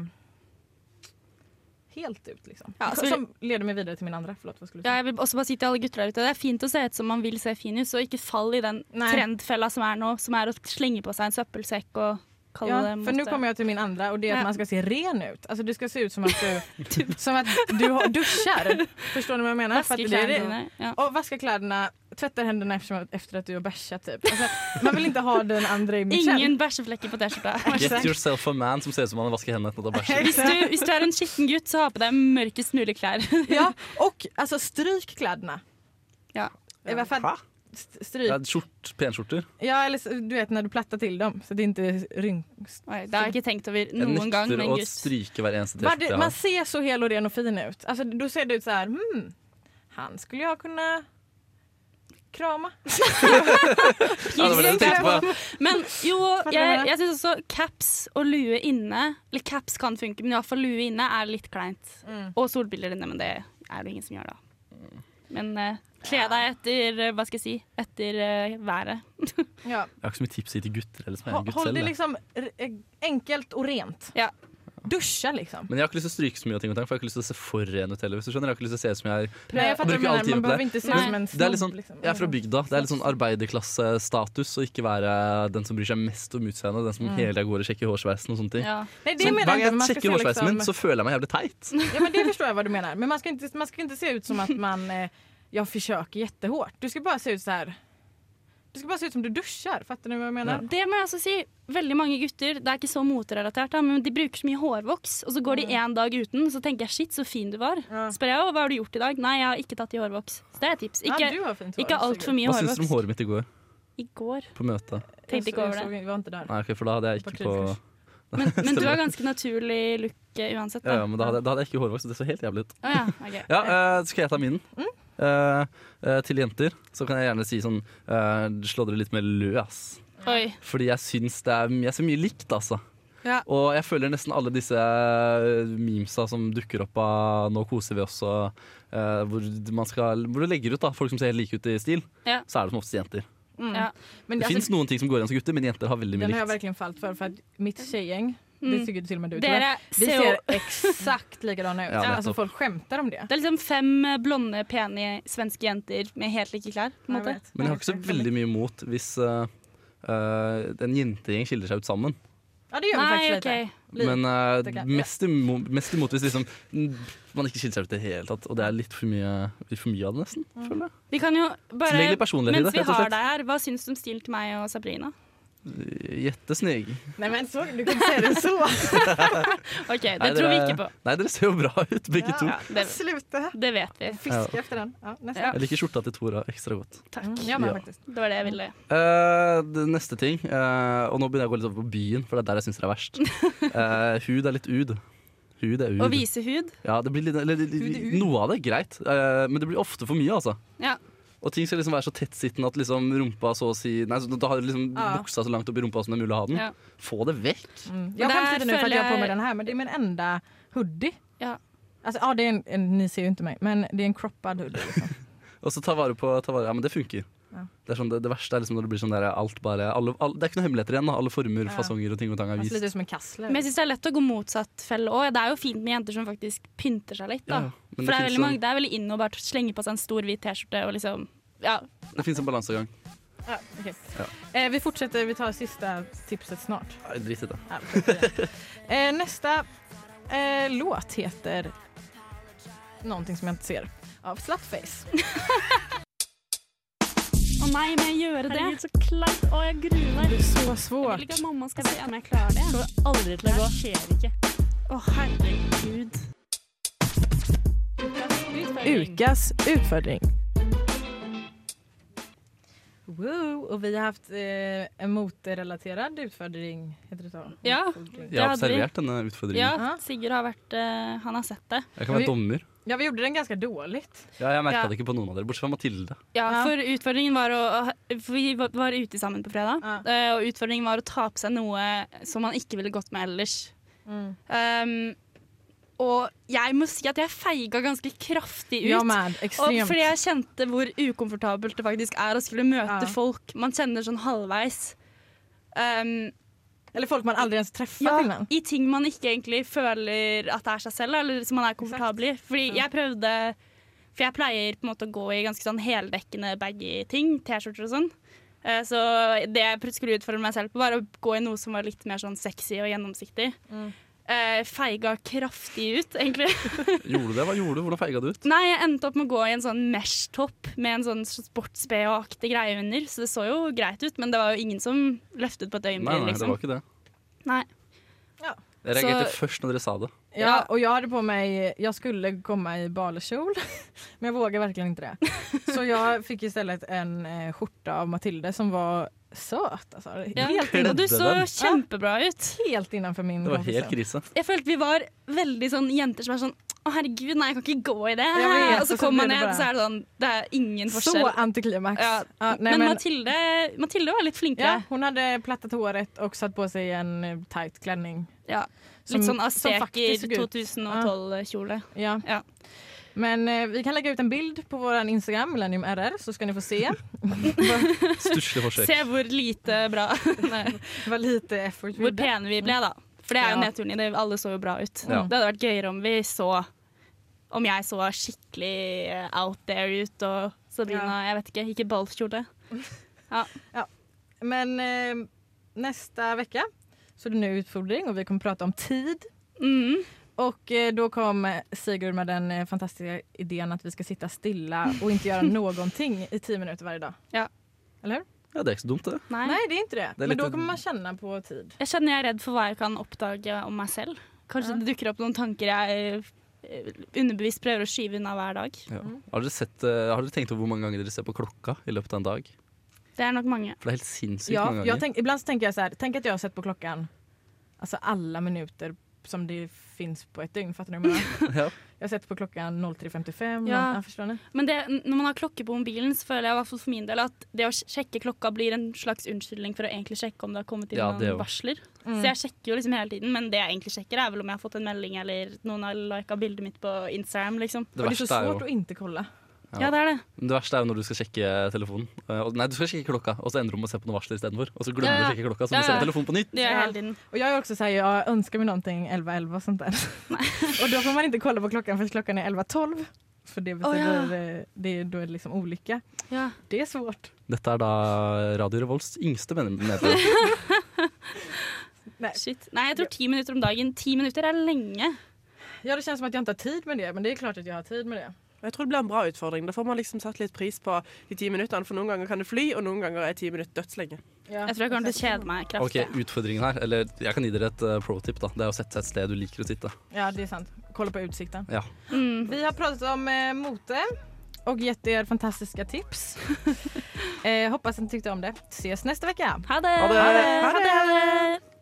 A: helt ut liksom.
C: Ja, så-
A: Som leder meg videre til min andre. Förlåt, vad skulle du
C: Ja,
A: säga?
C: jeg vil også bare si til alle gutter der ute, det er fint å se ut som man vil se fin ut, så ikke fall i den trendfella som er nå, som er å slenge på seg en søppelsekk og kalle
A: Ja,
C: det
A: för nu kommer jag till min andra och det är att
C: Ja.
A: man ska se ren ut. Alltså du ska se ut som att du, som att du har- duschar. Förstår ni vad jag menar?
C: Vaska
A: För att det är det.
C: kläderna,
A: Och vaska kläderna, tvätta händerna efter, efter att du har bärsat typ. Alltså, man vill inte ha den andra imagen.
C: Ingen bæsjeflekker på T-skjorta.
B: Get yourself a man som ser ut som han vasker hendene etter å ha
C: Hvis
B: bæsjet.
C: du, hvis du er en skitten gutt, så ha på deg mørkest mulig klær.
A: ja, og altså, stryk kläderna.
C: Ja.
A: I alla fall st- stryk.
B: Ja, skjort, PN-skjorter.
A: Ja, eller så- du vet när du plattar till dem så det inte rynks.
C: det har jag inte tänkt över
B: Jeg nekter å stryke hver eneste
A: Man,
B: T-skjorte jeg
A: man
B: har.
A: ser så hel och ren och fin ut. Alltså, då ser det ut så här, hmm, han skulle jag kunna krama.
B: Ja, det var det jeg tenkte på.
C: Men jo,
A: Hva
C: jeg,
A: mener du?
C: jeg syns også caps og lue inne Eller caps kan funke, men i hvert fall lue inne er litt kleint.
A: Mm.
C: Og solbriller inne, men det er det ingen som gjør, da. Men eh, kle deg etter eh, Hva skal jeg si? Etter eh, været.
A: ja.
B: Jeg har ikke så mye tips til gutter. Eller som jeg er
A: Hå-
B: gutt
A: Håll
B: selv,
A: det
B: jeg.
A: liksom r- eh, enkelt och rent. Duscha liksom.
B: Men jeg har ikke lyst til å stryke så mye, av ting og tang, for jeg har ikke lyst til å se for ren ut heller. Hvis du skjønner, jeg har ikke lyst til å se ut som jeg er.
A: Nei, jeg fatter hva du
B: bruker
A: mener.
B: all
A: Man
B: tiden på
A: behøver
B: det.
A: ikke se ut som en
B: Det er litt
A: snobb,
B: sånn,
A: liksom.
B: jeg er fra bygda. Det er litt sånn arbeiderklassestatus å ikke være den som bryr seg mest om utseendet, den som
A: Mm.
B: hele tiden går og sjekker hårsveisen og sånne ting.
A: Ja. Nei, det
B: Så
A: mener
B: hver gang
A: jeg ikke, men man
B: jeg
A: skal
B: sjekker
A: se
B: hårsveisen
A: liksom- Mm.
B: min, så føler jeg meg jævlig teit.
A: Ja, men det förstår jag vad du menar. Men man ska inte, man ska inte se ut som att man, eh, jag försöker jättehårt. Du ska bara se ut så här. Du ska bara se ut som du duschar. Fattar ni vad jag menar?
C: Det må jeg også si. Veldig mange gutter, det er ikke så moterelatert, da, men de bruker så mye hårvoks. Og så
A: Mm.
C: går de én dag uten, så tenker jeg 'shit, så fin du var'. Spør jeg «Å, 'hva har du gjort i dag'? Nei, jeg har ikke tatt i hårvoks. Så det er et tips.
A: Ja,
C: Ikke,
A: du har fint hår,
C: ikke altfor mye
B: Hva syns du om
C: hårvoks.
B: håret mitt i går?
C: I går
B: På møtet?
C: tenkte ikke
A: Jeg
C: over
A: så-
C: det.
A: Vi var inte där.
B: Nei, ok, for da hadde jeg ikke på
C: Men, men du
B: Stemmer.
C: har ganske naturlig look eh, uansett.
B: Ja,
C: Da.
B: ja, men da hadde, da hadde jeg ikke hårvoks, så det så helt jævlig ut.
C: Å ja, ok.
B: Ja, eh, skal jeg ta min? Eh, eh, til jenter så kan jeg gjerne si sånn eh, Slå dere litt mer lø, ass.
C: Oi.
B: Fordi jeg syns det er jeg er så mye likt, altså.
C: Ja.
B: Og jeg føler nesten alle disse eh, memesa som dukker opp av 'Nå koser vi oss' og eh, hvor, man skal, hvor du legger ut da, folk som ser helt like ut i stil,
A: Ja.
B: så er det som oftest jenter.
A: Mm.
B: Det,
A: Men det,
B: fins
A: alltså,
B: noen ting som går igjen som gutter, men jenter har veldig mye
A: den har jag
B: likt.
A: verkligen fallit för. För att mitt tjejgäng,
C: Mm.
A: det tycker till och med du
C: Dere
A: tror jag, Vi
C: ser
A: ser
C: jo-
A: exakt likadana ut.
B: Ja,
A: alltså
B: nettopp.
A: folk skämtar om det.
C: Det er liksom fem eh, blonde, pene svenske jenter med helt like klær. På en måte.
B: Men jeg har ikke så veldig mye imot hvis eh, eh, en jentegjeng skiller seg ut sammen.
A: Ja, det gjør vi
C: Nei,
A: faktisk litt.
C: ok.
B: Men eh,
A: det kan-
B: mest, imot, mest imot hvis liksom, mm, man ikke skiller seg ut i det hele tatt. Og det er litt for mye, litt for mye av det, nesten.
C: Vi kan jo
B: Så legg
C: bare,
B: litt personlighet i
C: mens
B: det,
C: vi
B: rett og
C: har
B: slett.
C: deg her, hva syns du om stilen til meg og Sabrina?
B: Jettesnygg.
A: Nej men så, du kan säga det så.
C: OK, det
B: Nei,
C: tror vi
B: dere-
C: ikke på.
B: Nei, dere ser jo bra ut, begge to.
C: det, Det vet vi.
B: Fiske Ja.
A: efter den. Ja, nästa. Mm,
B: Jeg liker skjorta til Tora ekstra godt.
C: Takk.
B: jeg med, Ja.
C: Det var det jeg ville.
B: Eh, det neste ting, eh, og nå begynner jeg å gå litt over på byen, for det er der jeg syns det er verst. Eh, hud er litt ud. Hud er ud.
C: Å vise hud.
B: Ja, det blir litt, eller,
C: Hud er ud.
B: noe av det er greit, eh, men det blir ofte for mye, altså.
C: Ja.
B: Og ting skal liksom være så tettsittende at liksom rumpa så å si Nei, så da har liksom
A: Ja.
B: buksa så langt opp i rumpa som det er mulig å ha den.
A: Ja.
B: Få det vekk.
A: Mm. Jag
C: Där
A: skäms lite nu för att jag har på mig
C: följer-
A: den här men det är min enda hoodie. Alltså, ja, det är en, en, ni ser ju inte mig men det är en croppad hoodie. Liksom.
B: Og så ta vare på ta vare, Ja, men det funker.
A: Ja.
B: Det, er sånn, det, det verste er liksom når det blir sånn der alt bare alle, alle, Det er ikke noen hemmeligheter igjen. da Alle former,
C: Ja.
B: fasonger og ting og tang er
A: Alltså,
B: vist.
A: lite som en kassler.
C: Men jeg syns det er lett å gå motsatt felle òg. Det er jo fint med jenter som faktisk pynter seg litt. Da.
B: Ja, men
C: For det
B: det
C: er,
B: finnes
C: veldig mange,
B: sånn-
C: det er veldig inn å bare slenge på seg en stor hvit T-skjorte og liksom Ja.
B: Det fins en balansegang.
A: Ja, okej.
B: Ja.
A: eh, vi fortsätter, vi tar sista tipset snart.
B: Nei, Drit i det.
A: Ja, skit i det. eh, nästa eh, låt heter någonting som jag inte ser. Av Slutface.
C: Å nei, må jeg gjøre det?
A: Herregud,
C: så kleint. Å, jeg gruer meg.
A: Det er så svårt.
C: Jeg vil ikke at mamma skal se om jeg klarer det. Det kommer aldri
A: til å gå.
C: Det skjer ikke. Å, herregud.
N: Ukas utfordring.
A: Woo, och vi har haft eh, en motorrelaterad utfödring. Heter det så?
C: Ja.
A: Utfodring.
B: Jeg har observert denne utfordringen.
C: Ja, Sigurd har vært eh, Han har sett det.
B: Jeg kan være dommer.
A: Ja, vi gjorde den ganske dårlig.
B: Ja, jeg merka
C: Ja.
B: det ikke på noen av dere, bortsett fra Mathilde.
C: Ja, for utfordringen var å For vi var- var ute sammen på fredag, eh, og utfordringen var å ta på seg noe som man ikke ville gått med ellers.
A: Mm.
C: Um, og jeg må si at jeg feiga ganske kraftig ut.
A: Jeg med, ekstremt.
C: Og fordi jeg kjente hvor ukomfortabelt det faktisk er å skulle møte
A: Ja.
C: folk man kjenner sånn halvveis. Um,
A: Eller folk man aldri ens treffer
C: ja,
A: innan.
C: I ting man ikke egentlig føler at det er seg selv, eller som man er komfortabel i. Fordi jeg prøvde For jeg pleier på en måte å gå i ganske sånn heldekkende baggy ting, T-skjorter og sånn. Eh, Så det jeg pr- skulle utfordre meg selv på, var å gå i noe som var litt mer sånn sexy og gjennomsiktig.
A: Mm.
C: Eh, Feiga kraftig ut, egentlig.
B: Gjorde du det? Hva gjorde du? Hvordan feiga du ut?
C: Nei, jeg endte opp med å gå i en sånn mesh-topp med en sånn sports-BH-aktig greie under, så det så jo greit ut, men det var jo ingen som løftet på et
B: Nei, nei,
C: øyenbryn,
B: det var
C: liksom.
B: ikke det.
C: Nei.
B: Jeg reagerte først når dere sa det.
A: Ja, och jag hade på mig, jag skulle komma i balkjol men jag vågar verkligen inte det. Så jag fick istället en eh, skjorta av Matilde som var söt alltså.
C: Ja,
A: innan-
C: og du så kjempebra ut.
A: Helt innenfor min
B: Det var helt krise.
C: Jeg følte vi var veldig sånn jenter som er sånn Å, herregud, nei, jeg kan ikke gå i det.
A: Jeg vet,
C: og så
A: og så
C: kommer
A: blir
C: man
A: det
C: ned,
A: bare-
C: så er det sånn Det er ingen forskjell.
A: Så antiklimax.
C: Ja.
A: Ja, nej,
C: men,
A: men-
C: Mathilde, Mathilde var litt flinkere.
A: Ja, hon hade plattat håret och satt på sig en eh, tight klänning.
C: Ja.
A: Som-
C: litt
A: som
C: sånn
A: faktisk
C: Asteker
A: såg ut.
C: 2012-kjole.
A: Ja. Men eh, vi kan lägga ut en bild på vår Instagram, Millennium RR, så ska ni få se.
B: Stusslig forsøk.
C: Se hvor lite bra
A: Hvor lite effort
C: Hvor pene vi ble, da. For det er jo
A: Ja.
C: nedturen i det. Alle så jo bra ut.
B: Ja.
C: Det hadde vært gøyere om vi så Om jeg så skikkelig eh, out there ut og Sabrina, jeg vet ikke, gikk i ballkjole. Ja.
A: Men eh, nästa vecka så är det en ny utfordring och vi kommer prata om tid.
C: Mm.
A: Och eh, då kom Sigurd med den eh, fantastiska idén att vi ska sitta stilla och inte göra någonting i tio minuter varje dag.
C: Ja.
A: Eller hur?
B: Ja, det er ikke så dumt, det.
C: Nei.
A: det er ikke det.
B: Det
A: Men
B: er litt-
A: da kommer man kjenne på tid.
C: Jeg kjenner jeg er redd for hva jeg kan oppdage om meg selv. Kanskje det dukker opp noen tanker jeg eh, underbevisst prøver å skyve unna hver dag.
B: Ja. Har, dere sett, eh, har dere tenkt over hvor mange ganger dere ser på klokka i løpet av en dag?
C: Det er nok mange.
B: For det er helt sinnssykt
A: Ja,
B: mange
A: jag
B: ganger.
A: tänk, ibland så tänker jag så här, tänk att jag har sett på klockan alltså alla minuter som det finns på ett dygn. Fattar ni vad jag menar?
B: Ja.
A: Jag har sett på klockan 03.55.
C: Ja.
A: Ja. Förstår ni?
C: Men det, n- når man har klokke på mobilen, så føler jeg i hvert fall for min del at det å sj- sjekke klokka blir en slags unnskyldning for å egentlig sjekke om det har kommet inn
B: Ja, det
C: noen
B: jo.
C: varsler.
A: Mm.
C: Så jeg sjekker jo liksom hele tiden, men det jeg egentlig sjekker, er vel om jeg har fått en melding eller noen har lika bildet mitt på Instagram, liksom.
B: Det Og det er så verste er jo- svårt å
A: inte kolla.
C: Ja. det er det.
B: Men det verste er jo når du skal sjekke telefonen. Eh, og- Nei, du skal sjekke klokka, og så ender du med å se på noen varsler istedenfor. Og så glemmer du å sjekke klokka, så må du se på telefonen på nytt.
A: Och jag är också såhär, jag önskar mig någonting 11.11 och sånt där. och då får man inte kolla på klockan för klockan är 11.12. För det betyder,
B: Åh, ja.
A: eh, det, då är det liksom olycka. Det är svårt.
B: Dette er da Radio Revolts yngste medlem. medlem.
A: Nei.
C: Shit. Nei, jeg tror ti minutter om dagen. Ti minutter er lenge.
A: Ja det känns som att jag inte har tid med det men det är klart att jag har tid med det.
L: Og jeg tror det blir en bra utfordring. Da får man liksom satt litt pris på de ti minuttene, for noen ganger kan det fly, og noen ganger er ti minutter dødslenge.
C: Jeg tror jeg kommer til å kjede meg
B: Ok,
C: kraftig.
B: Utfordringen her, eller jeg kan gi dere et eh, pro-tip. da Det er å sette seg et sted du liker å sitte.
A: Ja, det är sant. Kolla på utsikten.
B: Ja.
A: Vi har pratat om eh, mote och gett er fantastiska tips. eh, hoppas ni tyckte om det. Ses nästa vecka.
C: Ha det! Ha det! Ha det!